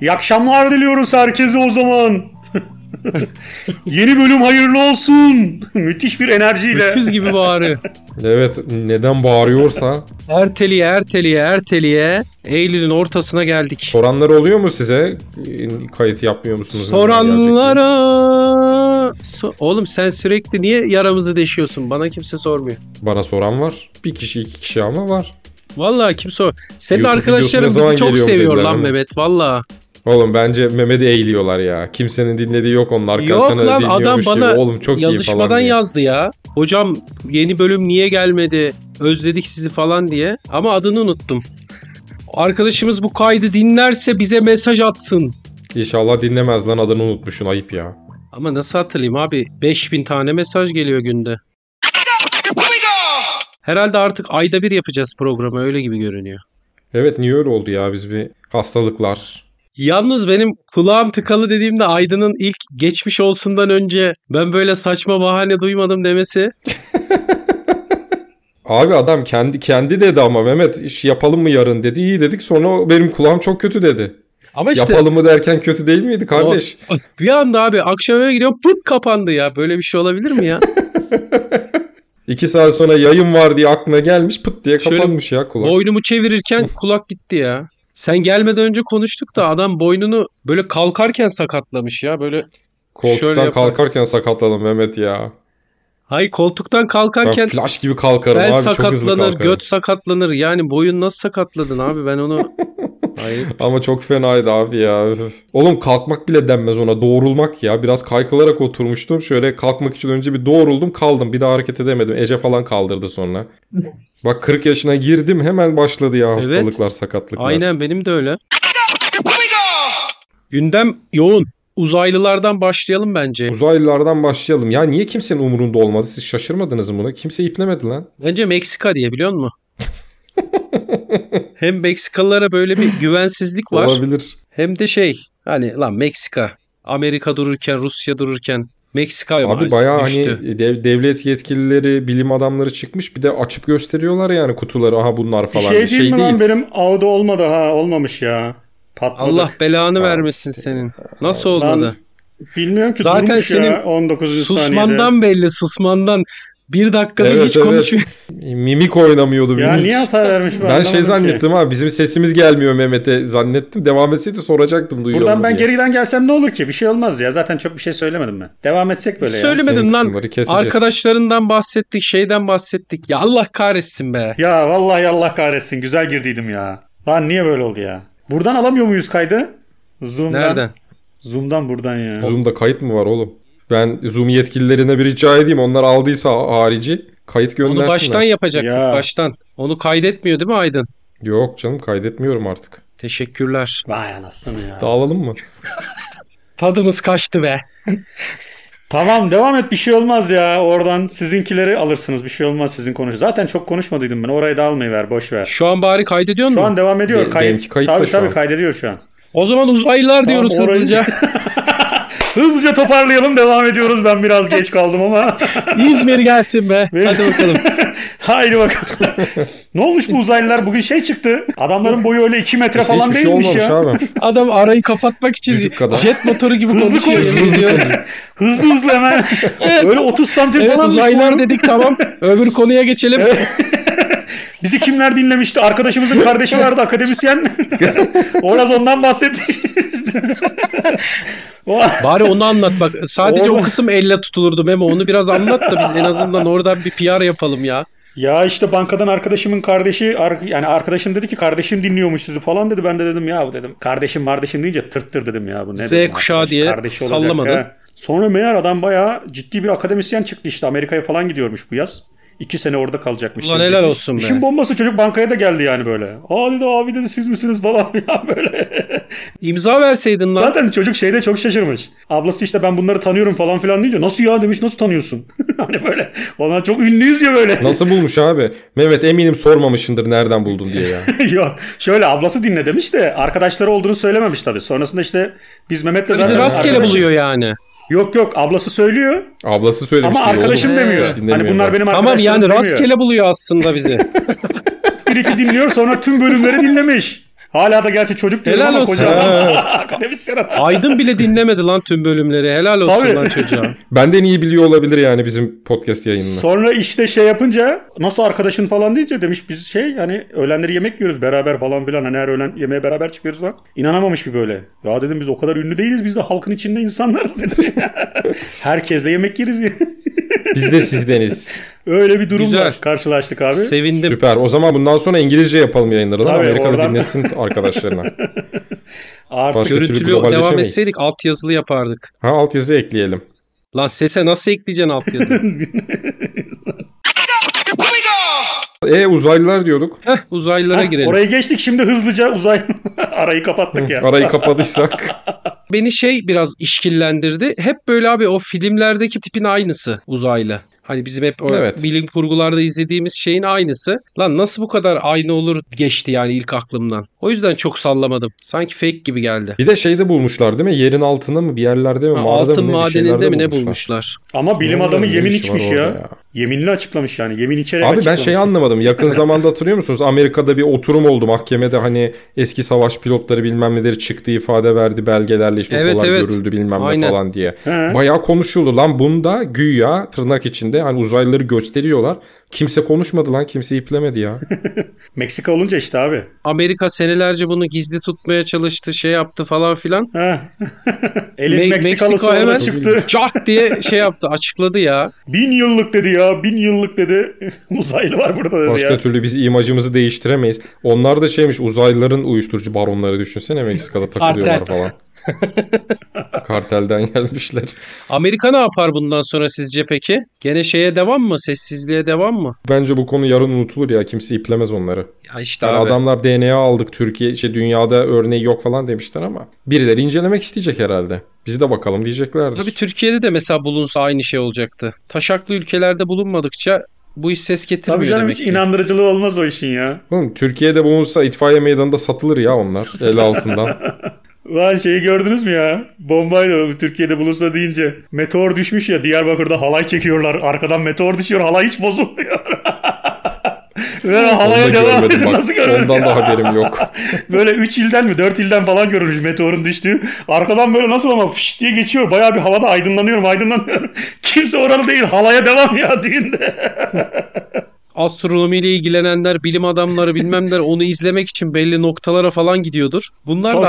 İyi akşamlar diliyoruz herkese o zaman. Yeni bölüm hayırlı olsun. Müthiş bir enerjiyle. Öküz gibi bağırıyor. Evet neden bağırıyorsa Erteliye erteliye erteliye Eylül'ün ortasına geldik. soranlar oluyor mu size? E, Kayıt yapmıyor musunuz? Soranlara... So- Oğlum sen sürekli niye yaramızı deşiyorsun? Bana kimse sormuyor. Bana soran var. Bir kişi iki kişi ama var. Vallahi kim sor. Senin YouTube arkadaşların videosu ne bizi zaman çok geliyor seviyor dediler lan ama. Mehmet valla. Oğlum bence Mehmet'i eğiliyorlar ya. Kimsenin dinlediği yok onun arkadaşlarına Yok lan, dinliyormuş adam gibi. bana Oğlum çok iyi falan Yazışmadan diye. yazdı ya. Hocam yeni bölüm niye gelmedi? Özledik sizi falan diye. Ama adını unuttum. Arkadaşımız bu kaydı dinlerse bize mesaj atsın. İnşallah dinlemez lan adını unutmuşsun ayıp ya. Ama nasıl hatırlayayım abi? 5000 tane mesaj geliyor günde. Herhalde artık ayda bir yapacağız programı öyle gibi görünüyor. Evet niye öyle oldu ya biz bir hastalıklar. Yalnız benim kulağım tıkalı dediğimde Aydın'ın ilk geçmiş olsundan önce ben böyle saçma bahane duymadım demesi Abi adam kendi kendi dedi ama Mehmet iş yapalım mı yarın dedi. İyi dedik sonra o benim kulağım çok kötü dedi. ama işte Yapalım mı derken kötü değil miydi kardeş? O- bir anda abi akşam eve gidiyorum pıt kapandı ya. Böyle bir şey olabilir mi ya? İki saat sonra yayın var diye aklına gelmiş pıt diye Şöyle kapanmış ya kulak. Boynumu çevirirken kulak gitti ya. Sen gelmeden önce konuştuk da adam boynunu böyle kalkarken sakatlamış ya. Böyle Şöyle Koltuktan yapar. kalkarken sakatladım Mehmet ya. hay koltuktan Ben kalkarken flash gibi kalkarım bel abi çok hızlı sakatlanır, kalkarım. göt sakatlanır. Yani boyun nasıl sakatladın abi? Ben onu Hayır. Ama çok fenaydı abi ya. Üf. Oğlum kalkmak bile denmez ona. Doğrulmak ya. Biraz kaykılarak oturmuştum. Şöyle kalkmak için önce bir doğruldum kaldım. Bir daha hareket edemedim. Ece falan kaldırdı sonra. Bak 40 yaşına girdim hemen başladı ya hastalıklar sakatlıklar. Aynen benim de öyle. Gündem yoğun. Uzaylılardan başlayalım bence. Uzaylılardan başlayalım. Ya niye kimsenin umurunda olmadı? Siz şaşırmadınız mı buna? Kimse iplemedi lan. Bence Meksika diye biliyor musun? Hem Meksikalılara böyle bir güvensizlik var. Olabilir. Hem de şey hani lan Meksika. Amerika dururken Rusya dururken Meksika Abi maalesef bayağı düştü. hani dev- devlet yetkilileri, bilim adamları çıkmış bir de açıp gösteriyorlar yani kutuları aha bunlar Bir falan. şey, değil mi lan benim ağda olmadı ha olmamış ya. Patladık. Allah belanı Abi vermesin senin. Nasıl Lan, olmadı? Bilmiyorum ki Zaten durmuş senin ya 19. saniyede. Susmandan belli susmandan. Bir dakikada Evet, hiç evet. konuşmuyor. Mimik oynamıyordu. Ya mimik. niye hata vermiş ben şey anlamadım ki. zannettim ha bizim sesimiz gelmiyor Mehmet'e zannettim. Devam etseydi soracaktım duyuyor Buradan mu ben diye. geriden gelsem ne olur ki? Bir şey olmaz ya. Zaten çok bir şey söylemedim ben. Devam etsek böyle ya. Söylemedin Senin lan. kısımları keseceğiz. Arkadaşlarından bahsettik, şeyden bahsettik. Ya Allah kahretsin be. Ya vallahi Allah kahretsin. Güzel girdiydim ya. Lan niye böyle oldu ya? Buradan alamıyor muyuz kaydı? Zoom'dan. Nereden? Zoom'dan buradan ya. Zoom'da kayıt mı var oğlum? Ben Zoom yetkililerine bir rica edeyim. Onlar aldıysa harici kayıt Onu göndersinler. baştan yapacaktık, Ya. baştan. Onu kaydetmiyor değil mi Aydın? Yok canım kaydetmiyorum artık. Teşekkürler. Vay anasını ya. Dağılalım mı? Tadımız kaçtı be. Tamam devam et bir şey olmaz ya. Oradan sizinkileri alırsınız. Bir şey olmaz sizin konuş. Zaten çok konuşmadıydım ben. Orayı da almayı ver boş ver. Şu an bari kaydediyor Şu musun? an devam ediyor. Be- benimki kayıtta tabii şu tabii an. kaydediyor şu an. O zaman uzaylılar diyoruz orayı- hızlıca. Hızlıca toparlayalım devam ediyoruz. Ben biraz geç kaldım ama. İzmir gelsin be. Hadi bakalım. Haydi bakalım. ne olmuş bu uzaylılar? Bugün şey çıktı. Adamların boyu öyle 2 metre falan Hiçbir şey değilmiş olmamış ya. abi. Adam arayı kapatmak için Düdük kadar. jet motoru gibi Hızlı konuşuyor. konuşuyor. yemin ediyorum. Hızlı hızlı hemen. öyle 30 santim evet falanmış uzaylılar boyu. dedik tamam. Öbür konuya geçelim. Bizi kimler dinlemişti? Arkadaşımızın kardeşi vardı akademisyen. Oraz ondan bahsetti. o, Bari onu anlat bak. Sadece Orada- o kısım elle tutulurdu Memo. Onu biraz anlat da biz en azından oradan bir PR yapalım ya. ya işte bankadan arkadaşımın kardeşi ar- yani arkadaşım dedi ki kardeşim dinliyormuş sizi falan dedi. Ben de dedim ya bu dedim. Kardeşim kardeşim deyince tırttır dedim ya bu ne Z dedim kuşağı diye olacak, sallamadı. he. Sonra meğer adam bayağı ciddi bir akademisyen çıktı işte Amerika'ya falan gidiyormuş bu yaz. İki sene orada kalacakmış. Ulan gelecekmiş. helal olsun be. İşin bombası çocuk bankaya da geldi yani böyle. Aa dedi abi dedi siz misiniz falan filan böyle. İmza verseydin lan. Zaten çocuk şeyde çok şaşırmış. Ablası işte ben bunları tanıyorum falan filan deyince nasıl ya demiş nasıl tanıyorsun? hani böyle onlar çok ünlüyüz ya böyle. Nasıl bulmuş abi? Mehmet eminim sormamışındır nereden buldun diye ya. Yok şöyle ablası dinle demiş de arkadaşları olduğunu söylememiş tabii. Sonrasında işte biz Mehmet'le zaten Bizi rastgele arkadaşız. buluyor yani. Yok yok ablası söylüyor Ablası söylemiş. ama diyor, oğlum, arkadaşım hiç demiyor. Hani dinlemiyorum bunlar ben. benim Tamam arkadaşlarım yani demiyor. rastgele buluyor aslında bizi. Bir iki dinliyor sonra tüm bölümleri dinlemiş. Hala da gerçi çocuk diyorum Helal ama olsun. koca adam. Akademisyen adam. Aydın bile dinlemedi lan tüm bölümleri. Helal olsun Tabii. lan çocuğa. Benden iyi biliyor olabilir yani bizim podcast yayınını. Sonra işte şey yapınca nasıl arkadaşın falan deyince demiş biz şey hani öğlenleri yemek yiyoruz beraber falan filan hani her öğlen yemeğe beraber çıkıyoruz lan. İnanamamış bir böyle. Ya dedim biz o kadar ünlü değiliz biz de halkın içinde insanlarız dedim. Herkesle yemek yeriz ya. Biz de sizdeniz. Öyle bir durumla Güzel. karşılaştık abi. Sevindim. Süper. O zaman bundan sonra İngilizce yapalım yayınları. Lan Tabii, Amerikalı oradan- dinlesin arkadaşlarına. Artık Başka türlü Görüntülü devam globalleşemeyiz. etseydik altyazılı yapardık. Ha altyazı ekleyelim. Lan sese nasıl ekleyeceksin altyazı? E uzaylılar diyorduk. Heh, uzaylılara girelim. orayı geçtik şimdi hızlıca uzay arayı kapattık ya. Arayı kapadıysak. Beni şey biraz işkillendirdi. Hep böyle abi o filmlerdeki tipin aynısı uzaylı. Hani bizim hep o Evet. bilim kurgularda izlediğimiz şeyin aynısı. Lan nasıl bu kadar aynı olur geçti yani ilk aklımdan. O yüzden çok sallamadım. Sanki fake gibi geldi. Bir de şeyde bulmuşlar değil mi? Yerin altında mı bir yerlerde mi? Ha, mağarada altın mı, ne, bir madeninde şeylerde mi ne bulmuşlar. bulmuşlar? Ama bilim Bilmiyorum, adamı ne yemin işi var içmiş orada ya. ya. Yeminli açıklamış yani. Yemin içerek Abi ben açıklamış. şey anlamadım. Yakın zamanda hatırlıyor musunuz? Amerika'da bir oturum oldu. Mahkemede hani eski savaş pilotları bilmem neleri çıktı ifade verdi belgelerle işte Evet, UFO'lar evet. görüldü bilmem Aynen. ne falan diye. He. Bayağı konuşuldu lan bunda güya tırnak içinde hani uzaylıları gösteriyorlar. Kimse konuşmadı lan kimse iplemedi ya. Meksika olunca işte abi. Amerika senelerce bunu gizli tutmaya çalıştı, şey yaptı falan filan. Heh. Elin Me- Meksikalısı Meksika orada hemen- çıktı. Cart diye şey yaptı, açıkladı ya. Bin yıllık dedi ya. Bin yıllık dedi. Uzaylı var burada dedi Başka ya. türlü biz imajımızı değiştiremeyiz. Onlar da şeymiş uzaylıların uyuşturucu baronları düşünsene Meksika'da takılıyorlar Kartel. falan. Kartelden gelmişler. Amerika ne yapar bundan sonra sizce peki? Gene şeye devam mı? Sessizliğe devam mı? Bence bu konu yarın unutulur ya kimse iplemez onları. Ya işte Yani abi. adamlar DNA aldık Türkiye şey dünyada örneği yok falan demişler ama birileri incelemek isteyecek herhalde. Biz de bakalım diyeceklerdir. Tabii Türkiye'de de mesela bulunsa aynı şey olacaktı. Taşaklı ülkelerde bulunmadıkça bu iş ses getirmiyor Tabii canım demek hiç ki. inandırıcılığı olmaz o işin ya. Oğlum, Türkiye'de bulunsa itfaiye meydanında satılır ya onlar el altından. Ulan şeyi gördünüz mü ya? Bombayla Türkiye'de bulursa deyince. Meteor düşmüş ya Diyarbakır'da halay çekiyorlar. Arkadan meteor düşüyor. Halay hiç bozulmuyor. Ve Onu da halaya devam görmedim ediyor. bak. Nasıl görmedin Ondan ya? da haberim yok. Böyle 3 ilden mi 4 ilden falan görülmüş meteorun düştüğü. Arkadan böyle nasıl ama fış diye geçiyor. Bayağı bir havada aydınlanıyorum aydınlanıyorum. Kimse oralı değil. Halaya devam ya düğünde. Astronomiyle ilgilenenler, bilim adamları bilmem neler onu izlemek için belli noktalara falan gidiyordur. Bunlar Tabii. da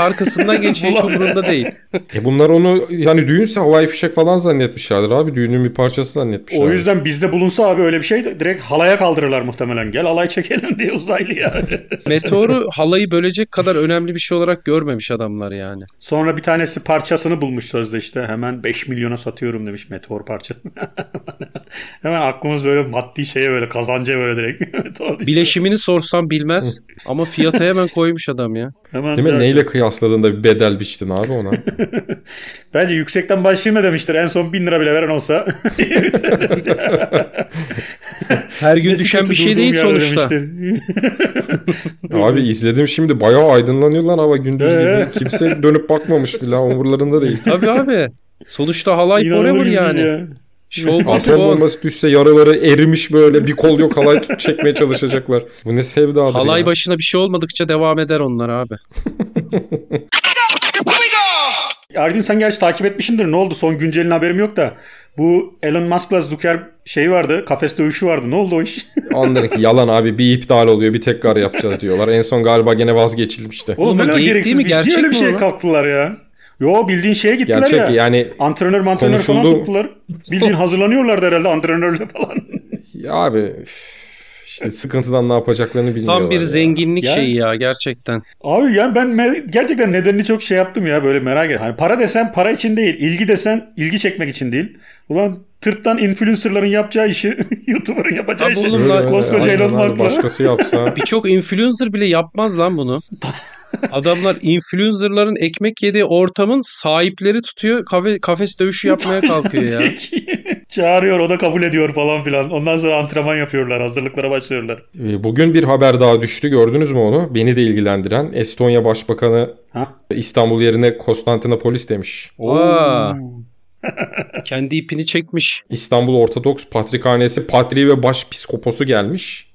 arkasından geçiyor hiç Ulan. umurunda değil. E bunlar onu yani düğünse havai fişek falan zannetmişlerdir abi. Düğünün bir parçası zannetmişler. O yüzden bizde bulunsa abi öyle bir şey de direkt halaya kaldırırlar muhtemelen. Gel halay çekelim diye uzaylı ya. Meteoru halayı bölecek kadar önemli bir şey olarak görmemiş adamlar yani. Sonra bir tanesi parçasını bulmuş sözde işte. Hemen 5 milyona satıyorum demiş meteor parçasını. Hemen aklımız böyle maddi şeye böyle kazanca böyle direkt. meteor düşüyor. Bileşimini sorsam bilmez ama fiyata hemen koymuş adam ya. Hemen Değil mi? direkt- Neyle kıyasladığında bir bedel biçtin abi ona. Bence yüksekten başlayayım da demiştir. En son 1000 lira bile veren olsa. Her gün Nesi düşen kötü bir şey durduğum değil yerde sonuçta. demiştir. abi izledim şimdi bayağı aydınlanıyorlar ama gündüz Ee? gibi. Kimse dönüp bakmamış bile umurlarında değil. Tabii abi. Sonuçta halay İnanılır forever gibi yani. değil ya. Show must Atom go on. bombası düşse yaraları erimiş böyle bir kol yok halay tut- çekmeye çalışacaklar. Bu ne sevdadır Halay ya. başına bir şey olmadıkça devam eder onlar abi. Aydın sen gerçi takip etmişsindir. Ne oldu? Son güncelin haberim yok da. Bu Elon Musk'la Zucker şey vardı. Kafes dövüşü vardı. Ne oldu o iş? Onların ki yalan abi bir iptal oluyor bir tekrar yapacağız diyorlar. En son galiba gene vazgeçilmişti. Oğlum Oğlum, ne o kadar geyik gereksiz değil mi? bir iş. Niye Gerçek öyle bir mi şeye o? kalktılar ya? Yo bildiğin şeye gittiler Gerçek ya. yani Antrenör mantrenör falan Konuşuldu. tuttular. Bildiğin hazırlanıyorlardı herhalde antrenörle falan. ya abi üf, işte sıkıntıdan ne yapacaklarını bilmiyorlar. Tam bir ya. zenginlik Ya. şeyi ya gerçekten. Abi yani ben me- gerçekten nedenini çok şey yaptım ya böyle merak ettim. Hani para desen para için değil, ilgi desen ilgi çekmek için değil. Ulan tırttan influencerların yapacağı işi, YouTuber'ın yapacağı Abi işi. oğlum lan- Koskoca aynen Elon abi, Musk'la. Başkası yapsa. Birçok influencer bile yapmaz lan bunu. Adamlar influencerların ekmek yediği ortamın sahipleri tutuyor kafe, kafes dövüşü yapmaya kalkıyor ya. Çağırıyor o da kabul ediyor falan filan. Ondan sonra antrenman yapıyorlar, hazırlıklara başlıyorlar. E, Bugün bir haber daha düştü gördünüz mü onu? Beni de ilgilendiren Estonya Başbakanı Ha? İstanbul yerine Konstantinopolis demiş. Aa, kendi ipini çekmiş. İstanbul Ortodoks Patrikhanesi Patriği ve Başpiskoposu gelmiş.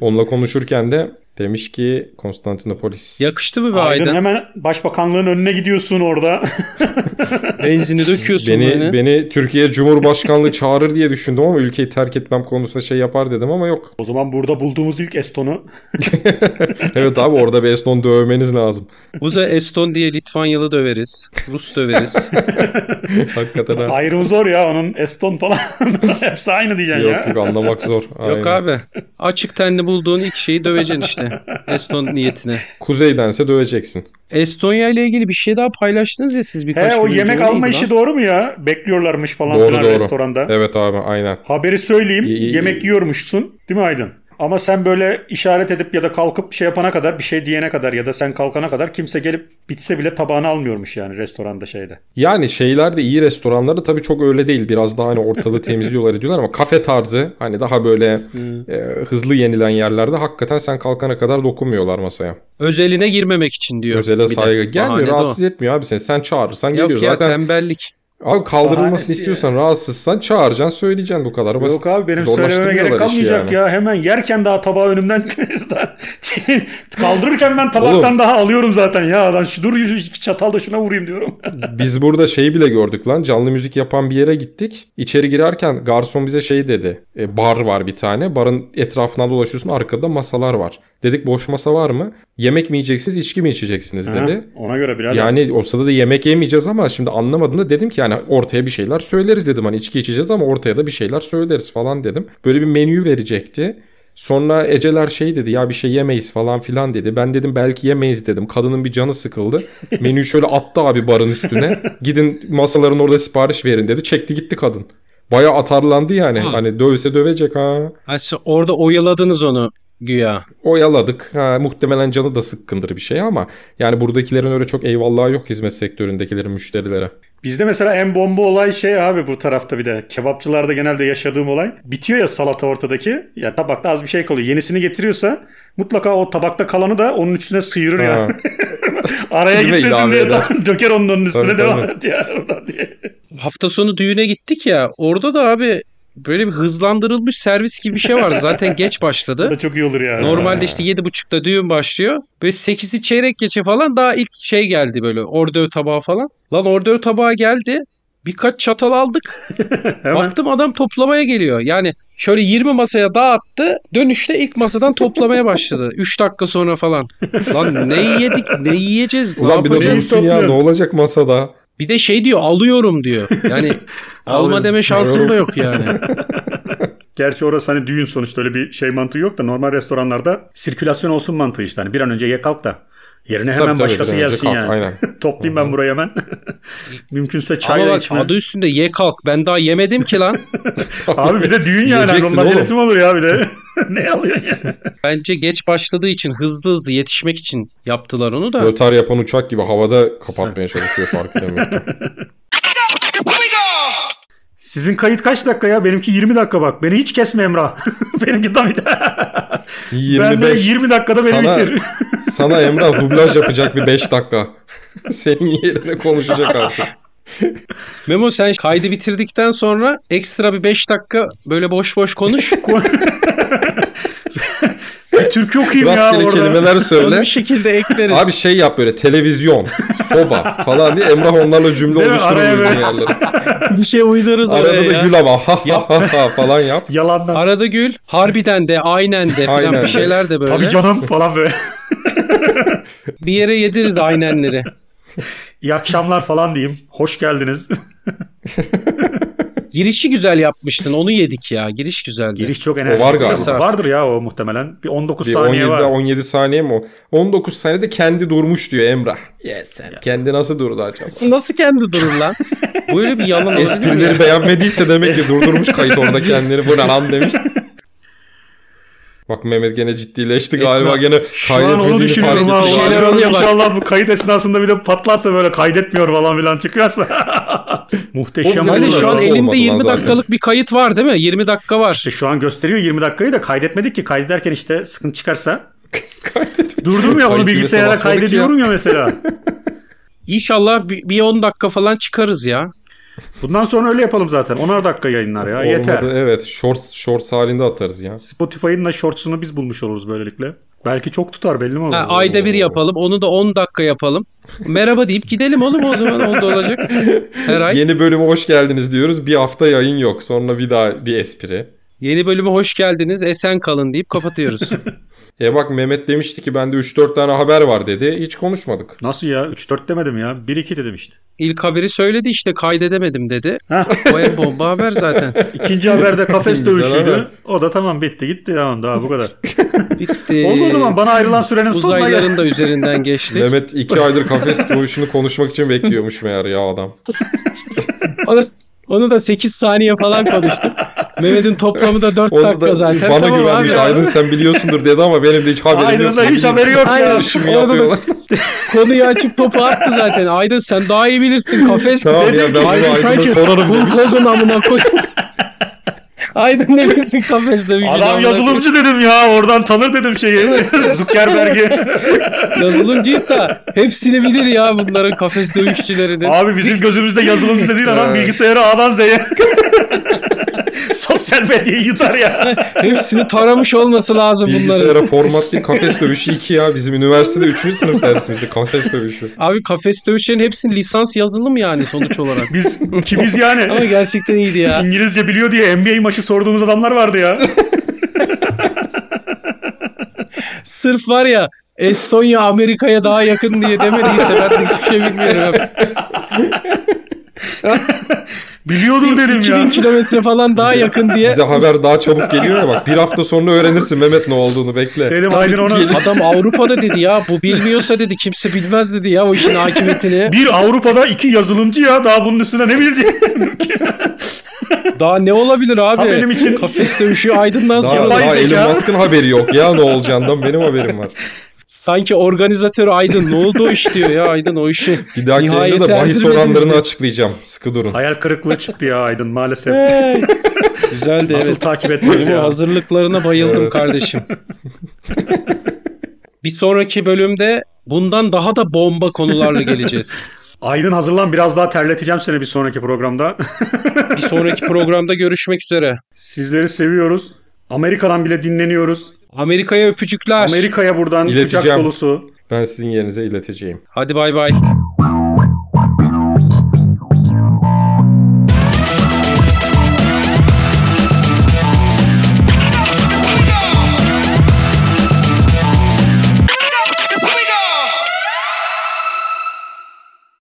Onunla konuşurken de Demiş ki Konstantinopolis. Yakıştı mı be Aydın, Aydın? hemen başbakanlığın önüne gidiyorsun orada. Benzini döküyorsun Beni, böyle. beni Türkiye Cumhurbaşkanlığı çağırır diye düşündüm ama ülkeyi terk etmem konusunda şey yapar dedim ama yok. o zaman burada bulduğumuz ilk Eston'u Evet abi orada bir Eston dövmeniz lazım. Buza Eston diye Litvanyalı döveriz. Rus döveriz. Hakikaten ha. ayrım zor ya onun Eston falan. Hepsi aynı diyeceksin ya. Yok yok anlamak zor. Aynen. Yok abi. Açık tenli bulduğun ilk şeyi döveceksin işte. Eston niyetine. Kuzeydense döveceksin. Estonya ile ilgili bir şey daha paylaştınız ya siz birkaç He gün o önce. yemek O neydi alma lan? işi doğru mu ya? Bekliyorlarmış falan Doğru, filan doğru. restoranda. Evet abi aynen. Haberi söyleyeyim. İyi, iyi, yemek iyi. yiyormuşsun. Değil mi Aydın? Ama sen böyle işaret edip ya da kalkıp bir şey yapana kadar, bir şey diyene kadar ya da sen kalkana kadar kimse gelip bitse bile tabağını almıyormuş yani restoranda şeyde. Yani şeyler de iyi restoranlar da tabii çok öyle değil. Biraz daha hani ortalığı temizliyorlar ediyorlar ama kafe tarzı hani daha böyle Hmm. e, hızlı yenilen yerlerde hakikaten sen kalkana kadar dokunmuyorlar masaya. Özeline girmemek için diyor. Özele bir de. saygı gelmiyor Bahane de o. rahatsız etmiyor abi seni. Sen çağırırsan geliyor Yok ya zaten. tembellik. Abi kaldırılmasını Bahanesi istiyorsan rahatsızsan çağıracaksın söyleyeceksin bu kadar Yok basit. abi benim söylememe gerek Zorlaştırmıyorlar işi kalmayacak yani. ya. Hemen yerken daha tabağı önümden kaldırırken ben tabaktan Oğlum. daha alıyorum zaten ya adam. Şu dur şu iki çatal da şuna vurayım diyorum. Biz burada şeyi bile gördük lan. Canlı müzik yapan bir yere gittik. İçeri girerken garson bize şey dedi. E, bar var bir tane. Barın etrafından dolaşıyorsun. Arkada masalar var. Dedik boş masa var mı? Yemek mi yiyeceksiniz, içki mi içeceksiniz dedi. Ha, ona göre birader. Yani o sırada da yemek yemeyeceğiz ama şimdi anlamadım da dedim ki yani ortaya bir şeyler söyleriz dedim. Hani içki içeceğiz ama ortaya da bir şeyler söyleriz falan dedim. Böyle bir menü verecekti. Sonra Eceler şey dedi ya bir şey yemeyiz falan filan dedi. Ben dedim belki yemeyiz dedim. Kadının bir canı sıkıldı. Menüyü şöyle attı abi barın üstüne. Gidin masaların orada sipariş verin dedi. Çekti gitti kadın. Baya atarlandı yani. Ha. Hani dövse dövecek ha. Ha, siz orada oyaladınız onu güya. Oyaladık. Ha, muhtemelen canı da sıkkındır bir şey ama yani buradakilerin öyle çok eyvallahı yok hizmet sektöründekilerin müşterilere. Bizde mesela en bomba olay şey abi bu tarafta bir de. Kebapçılarda genelde yaşadığım olay. Bitiyor ya salata ortadaki. Ya tabakta az bir şey kalıyor. Yenisini getiriyorsa mutlaka o tabakta kalanı da onun üstüne sıyırır Ha. yani. Araya Bir de gitmesin ilave diye eder. tam döker onun, onun üstüne Tabii, devam tabii. et ya oradan diye. Hafta sonu düğüne gittik ya. Orada da abi böyle bir hızlandırılmış servis gibi bir şey vardı. Zaten geç başladı. O da çok iyi olur yani. Normalde işte yedi buçukta düğün başlıyor. Böyle 8'i çeyrek geçe falan daha ilk şey geldi böyle ordöv tabağı falan. Lan ordöv tabağı geldi. Birkaç çatal aldık. Hemen. Baktım adam toplamaya geliyor. Yani şöyle 20 masaya dağıttı. Dönüşte ilk masadan toplamaya başladı. 3 dakika sonra falan. Lan ne yedik ne yiyeceğiz ne Ulan bir de yapacağız? duysun ya ne topluyorum. olacak masada. Bir de şey diyor alıyorum diyor. Yani alma Alıyorum. deme şansın da yok yani. Gerçi orası hani düğün sonuçta öyle bir şey mantığı yok da normal restoranlarda sirkülasyon olsun mantığı işte. Hani bir an önce ye kalk da yerine hemen Tabii, tabii, başkası bir an önce gelsin kalk, yani. aynen. Toplayayım ben burayı hemen. Mümkünse çay Ama da bak içme. adı üstünde ye kalk. Ben daha yemedim ki lan. Abi bir de düğün yani. Yiyecektin Onun oğlum. acelesi mi olur ya bir de? ne alıyorsun ya? Bence geç başladığı için hızlı hızlı yetişmek için yaptılar onu da. Rötar yapan uçak gibi havada kapatmaya çalışıyor fark edemiyor. Sizin kayıt kaç dakika ya? Benimki 20 dakika bak. Beni hiç kesme Emrah. Benimki tam Ben de 25 20 dakikada beni Sana- bitir. sana Emrah dublaj yapacak bir 5 dakika. Senin yerine konuşacak artık. Memo sen kaydı bitirdikten sonra ekstra bir 5 dakika böyle boş boş konuş. Bir türkü okuyayım ya Rastgele orada. şey kelimeler Onu söyle. bir şekilde ekleriz. Abi şey yap böyle televizyon, soba falan diye Emrah onlarla cümle Değil mi? oluşturur Araya uygun böyle- yerlere. bir şey uydururuz Arada araya da ya. gül ama ha ha ha ha falan yap. Yalandan. Arada gül. Harbiden de aynen de falan Aynen de. bir şeyler de böyle. Tabii canım falan böyle. Bir yere yediriz aynenleri. İyi akşamlar falan diyeyim. Hoş geldiniz. Girişi güzel yapmıştın onu yedik ya. Giriş güzeldi. Giriş çok enerjik. O var galiba. Saat. Vardır ya o muhtemelen. Bir 19 Bir saniye 17 var. 17 saniye mi o? 19 saniyede kendi durmuş diyor Emrah. Yer sen. Kendi nasıl durdu acaba? Nasıl kendi durur lan? Böyle bir yalan olabilir mi ya? Esprileri beğenmediyse demek ki durdurmuş kayıt orada kendini. Bu ne lan demiş. Bak Mehmet gene ciddileşti galiba gene Şu an onu kaydetmediğini fark düşünüyorum ha. Bir etmiş. şeyler Ulan oluyor bak. İnşallah bu kayıt esnasında bir de patlarsa böyle kaydetmiyor falan filan çıkarsa. Muhteşem Oğlum, olur. Hayır Hani Olmadı şu an lan, olmadı elinde lan 20 zaten. dakikalık bir kayıt var değil mi? 20 dakika var. İşte şu an gösteriyor 20 dakikayı da kaydetmedik ki kaydederken işte sıkıntı çıkarsa. Kaydetmiş. Durdum ya onu Kayıt bilgisayara basmadık ya. kaydediyorum ya mesela. İnşallah bir, bir 10 dakika falan çıkarız ya. Bundan sonra öyle yapalım zaten. 10'ar dakika yayınlar ya. Yeter. Olmadı evet. Shorts, shorts halinde atarız ya. Spotify'ın da shorts'unu biz bulmuş oluruz böylelikle. Belki çok tutar belli mi olur? Ha, ayda bir yapalım. Onu da 10 dakika yapalım. Merhaba deyip gidelim oğlum o zaman onda olacak. Her ay. Yeni bölüme hoş geldiniz diyoruz. Bir hafta yayın yok. Sonra bir daha bir espri. Yeni bölüme hoş geldiniz. Esen kalın deyip kapatıyoruz. E bak Mehmet demişti ki bende 3-4 tane haber var dedi. Hiç konuşmadık. Nasıl ya? 3-4 demedim ya. 1-2 dedim işte. İlk haberi söyledi işte kaydedemedim dedi. Hah. O en bomba haber zaten. İkinci haberde kafes Güzel haber. dövüşüydü. O da tamam bitti gitti. Tamam daha bu kadar. Bitti. Oldu o zaman bana ayrılan sürenin sonuna gel. Uzayların da üzerinden geçtik. Mehmet 2 aydır kafes dövüşünü konuşmak için bekliyormuş meğer ya adam. Onu, onu da 8 saniye falan konuştuk. Mehmet'in toplamı da 4 Onu dakika da zaten. bana Tamam güvenmiş. abi. Aydın sen biliyorsundur dedi ama benim de hiç haberim Aydın'ın yok. da hiç haberi yok ya. Aynen. Şimdi Orada da- yapıyorlar. Konuyu açıp topu attı zaten. Aydın sen daha iyi bilirsin kafes. Tamam ya, ben bunu Aydın'a sorarım Hulk demiş. Hogan amına koy. Aydın ne bilsin kafes demiş. Adam yazılımcı dedim ya. Oradan tanır dedim şeyi. Zuckerberg'i. Yazılımcıysa hepsini bilir ya bunların kafes dövüşçülerini. Abi bizim gözümüzde yazılımcı da değil adam Evet. bilgisayarı A'dan Z'ye. Sosyal medyayı yutar ya. Hepsini taramış olması lazım bunların. Bilgisayara format bir kafes dövüşü 2 ya. Bizim üniversitede 3. sınıf dersimizde kafes dövüşü. Abi kafes dövüşlerin hepsinin lisans yazılım yani sonuç olarak. Biz kimiz Ama yani? gerçekten iyiydi ya. İngilizce biliyor diye NBA maçı sorduğumuz adamlar vardı ya. Sırf var ya Estonya Amerika'ya daha yakın diye demediyse ben de hiçbir şey bilmiyorum. abi. Biliyordur dedim 2000 ya. kilometre falan daha yakın diye. Bize haber daha çabuk geliyor ya bak. Bir hafta sonra öğrenirsin Mehmet ne olduğunu bekle. Dedim Aydın ona Adam Avrupa'da dedi ya bu bilmiyorsa dedi kimse bilmez dedi ya bu işin hakimiyetini. bir Avrupa'da iki yazılımcı ya daha bunun üstüne ne bilecek? Daha ne olabilir abi? Ha benim için- Kafes dövüşü aydınlan Daha, sonra. Yapay daha zeka. Elon Musk'ın haberi yok ya ne olacağından benim haberim var. Sanki organizatör Aydın ne oldu o iş diyor ya Aydın o işi. Bir dahaki Nihayet yayında da bahis erdirmediniz oranlarını mi? açıklayacağım. Sıkı durun. Hayal kırıklığı çıktı ya Aydın maalesef. Hey. Güzeldi Nasıl evet. takip etmez Benim o ya. hazırlıklarına bayıldım kardeşim. Bir sonraki bölümde bundan daha da bomba konularla geleceğiz. Aydın hazırlan biraz daha terleteceğim seni bir sonraki programda. Bir sonraki programda görüşmek üzere. Sizleri seviyoruz. Amerika'dan bile dinleniyoruz. Amerika'ya öpücükler. Amerika'ya buradan kucak İleteceğim. dolusu. Ben sizin yerinize ileteceğim. Hadi bay bay.